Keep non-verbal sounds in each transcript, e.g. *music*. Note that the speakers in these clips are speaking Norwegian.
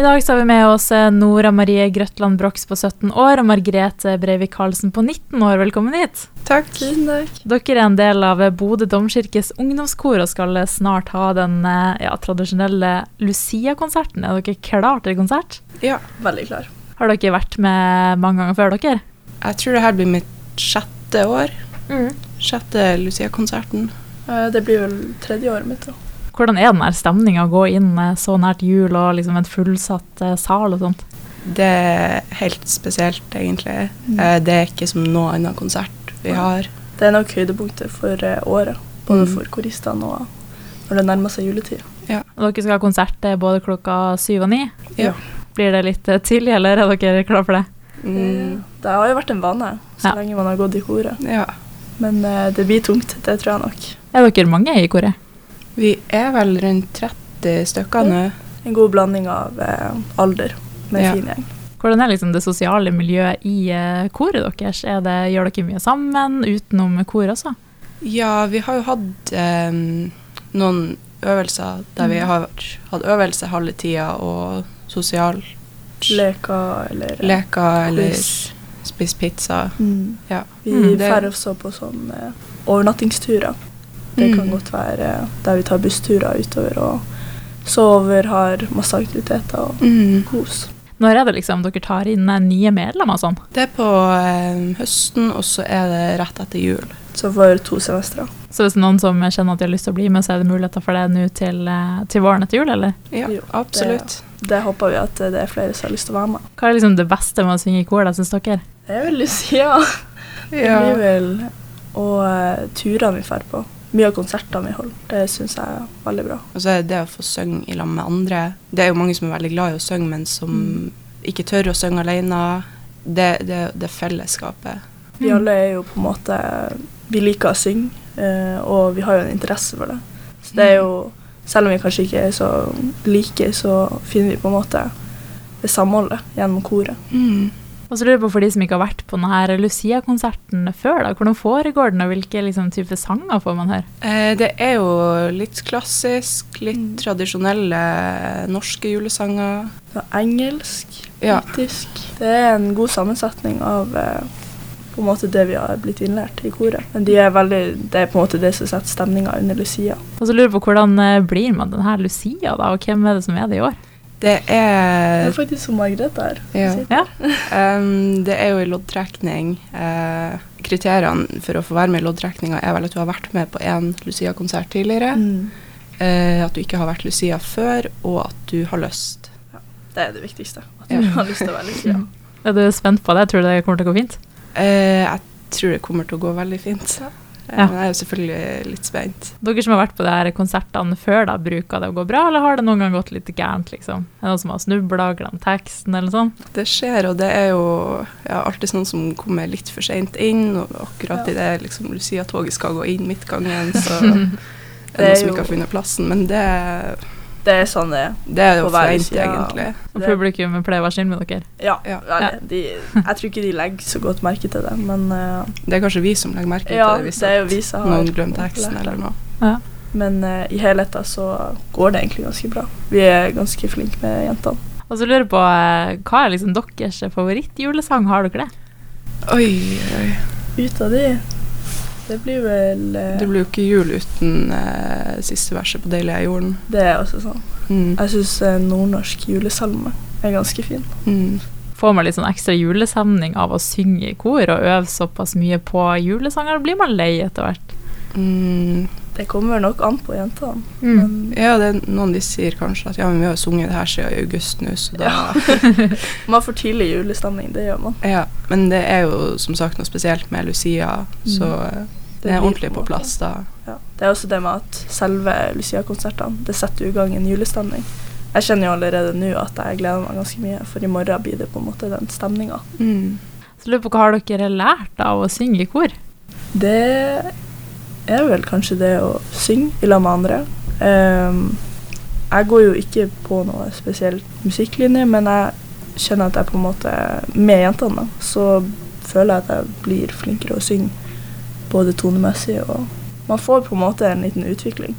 dag så har vi med oss eh, Nora Marie Grøtland Brox på 17 år og Margrethe Breivik Karlsen på 19 år. Velkommen hit. Takk. Tusen takk. Dere er en del av eh, Bodø domkirkes ungdomskor og skal eh, snart ha den eh, ja, tradisjonelle Lucia-konserten. Er dere klar til konsert? Ja, veldig klar. Har dere vært med mange ganger før dere? Jeg tror det her blir mitt sjette år. Sjette Lucia-konserten. Eh, Det blir vel tredje året mitt, da. Hvordan er den her stemninga å gå inn eh, så nært jul og liksom en fullsatt eh, sal og sånt? Det er helt spesielt, egentlig. Mm. Eh, Det er ikke som noen annen konsert vi har. Det er nok høydepunktet for eh, året, både Mm. for koristene og når det nærmer seg juletid. Og Dere skal ha konsert eh, både klokka syv og ni. Ja. Blir det litt eh, tidlig, eller er dere klare for det? Mm, Det har jo vært en vane så Ja. lenge man har gått i koret, ja. men eh, det blir tungt, det tror jeg nok. Er dere mange i koret? Vi er vel rundt 30 stykker nå. En god blanding av eh, alder med Ja. fin gjeng. Hvordan er liksom det sosiale miljøet i eh, koret deres? Er det, gjør dere mye sammen utenom koret også? Ja, vi har jo hatt eh, noen øvelser der vi Mm. har hatt øvelse halve tida og sosial Leker eller eh, leker eller quiz. spist pizza. Mm. Ja. Vi Mm, det- drar også på sånn eh, overnattingsturer. Det Mm. kan godt være eh, der vi tar bussturer utover og sover, har masse aktiviteter og Mm. kos. Når er det liksom dere tar inn eh, nye medlemmer og sånn? Det er på eh, høsten, og så er det rett etter jul. Så for to semestre. Så hvis det er noen som kjenner at de har lyst til å bli med, så er det muligheter for det nå til, eh, til våren etter jul, eller? Ja, Jo, absolutt. Det håper vi at det er flere som har lyst til å være med. Hva er liksom det beste med å synge i kor, da, syns dere? Det er vel Lucia. Det blir vel Og eh, turene vi drar på. Mye av konsertene vi holder. Det syns jeg er veldig bra. Og så er det det å få synge i lag med andre. Det er jo mange som er veldig glad i å synge, men som Mm. ikke tør å synge alene. Det, det, det fellesskapet. Vi Mm. alle er jo på en måte Vi liker å synge, eh, og vi har jo en interesse for det. Så det er jo Selv om vi kanskje ikke er så like, så finner vi på en måte det samholdet gjennom koret. Og så lurer jeg på for de som ikke har vært på denne Lucia-konserten før, da, hvordan foregår den, og hvilke liksom, type sanger får man høre? Eh, det er jo litt klassisk, litt Mm. tradisjonelle norske julesanger. Det er engelsk, Ja. britisk Det er en god sammensetning av eh, på en måte det vi har blitt innlært i koret. Men de er veldig, det er på en måte det som setter stemninga under Lucia. Og så lurer jeg på hvordan eh, blir man denne Lucia, da, og hvem er det som er det i år? Det Det er er faktisk som Margrethe her. Ja. Sitter. Ja. Ehm, det er jo i loddtrekning. Eh, kriteriene for å få være med i loddtrekninga er vel at du har vært med på én Lucia-konsert tidligere, Mm. eh, at du ikke har vært Lucia før, og at du har lyst. Det er det viktigste. At Ja. Mm. du har lyst til å være Lucia. Er du spent på det? Tror du det kommer til å gå fint? Eh, jeg tror det kommer til å gå veldig fint. Eh, Ja. Men jeg er jo selvfølgelig litt spent. Dere som har vært på de her konsertene før, da, bruker det å gå bra, eller har det noen gang gått litt gærent? liksom? Er det noen som har snubla, glemt teksten eller sånn? Det skjer, og det er jo ja, alltid sånn som kommer litt for seint inn, og akkurat Ja. i det liksom, Lucia-toget skal gå inn midtgangen, *laughs* så er det noen som jo- ikke har funnet plassen. Men det, Det er sånn det er. det er jo På hver forvent, side av- egentlig. Og Det- publikum pleier å være snill med dere. Ja. Ja. veldig. De, jeg tror ikke de legger så godt merke til det, men eh, Det er kanskje vi som legger merke ja, til det. hvis det er jo vi som har Noen glemte teksten lært eller det. noe. Men eh, i helheten så går det egentlig ganske bra. Vi er ganske flinke med jentene. Og så lurer jeg på, eh, Hva er liksom deres favorittjulesang? Har dere det? Oi, oi. Ut av de Det blir vel eh, Det blir jo ikke jul uten eh, siste verset på 'Deilig er jorden'. Det er også sånn. Mm. Jeg syns nordnorsk julesalme er ganske fin. Mm. Får man litt sånn ekstra julestemning av å synge i kor og øve såpass mye på julesanger? Blir man lei etter hvert? Mm. Det kommer nok an på jentene, Mm. men Ja, det er noen de sier kanskje at ja, men vi har jo sunget det her siden august nå, så da ja. man får tidlig julestemning. Det gjør man. Men det er jo som sagt noe spesielt med Lucia, så eh, det, blir er ordentlig på en på måte. plass da. Ja. Det er også det med at selve Lucia-konsertene det setter jo i gang en julestemning. Jeg kjenner jo allerede nå at jeg gleder meg ganske mye, for i morgen blir det på en måte den stemninga. Mm. Så lurer jeg på, Hva har dere lært av å synge i kor? Det er vel kanskje det å synge i lag med andre. Ehm, jeg går jo ikke på noe spesiell musikklinje, men jeg kjenner at jeg på en måte Med jentene, da, så føler jeg at jeg blir flinkere å synge, både tonemessig og Man får på en måte en liten utvikling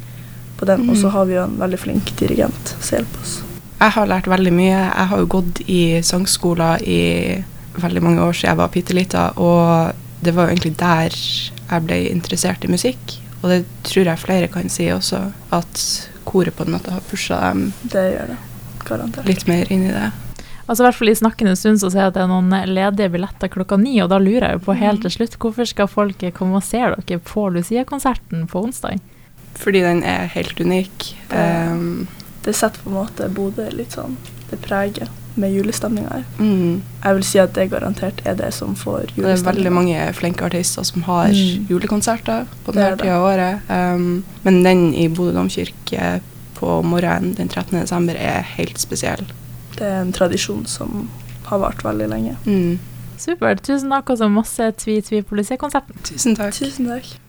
på den, og så Mm. har vi jo en veldig flink dirigent som hjelper oss. Jeg Jeg har lært veldig mye. Jeg har jo gått i sangskoler i veldig mange år siden jeg var bitte lita, og det var jo egentlig der jeg ble interessert i musikk. Og det tror jeg flere kan si også, at koret på en måte har pusha dem Det gjør det. Garantert. litt mer inn i det. Altså i hvert fall I snakkende stund så ser jeg at det er noen ledige billetter klokka ni, og da lurer jeg jo på helt til slutt, hvorfor skal folk komme og se dere på Lucia-konserten på onsdag? Fordi den er helt unik. Um, Det setter på en måte Bodø litt sånn Det preger med julestemninga her. mm. Jeg vil si at det garantert er det som får Og det er veldig julestemninga. mange flinke artister som har Mm. julekonserter på Det denne er det. tida av året. Um, men den i Bodø domkirke på morgenen den 13. desember er helt spesiell. Det er en tradisjon som har vart veldig lenge. Mm. Supert. Tusen takk, og så masse tvi-tvi på Lucia-konserten. Tusen takk. Tusen takk.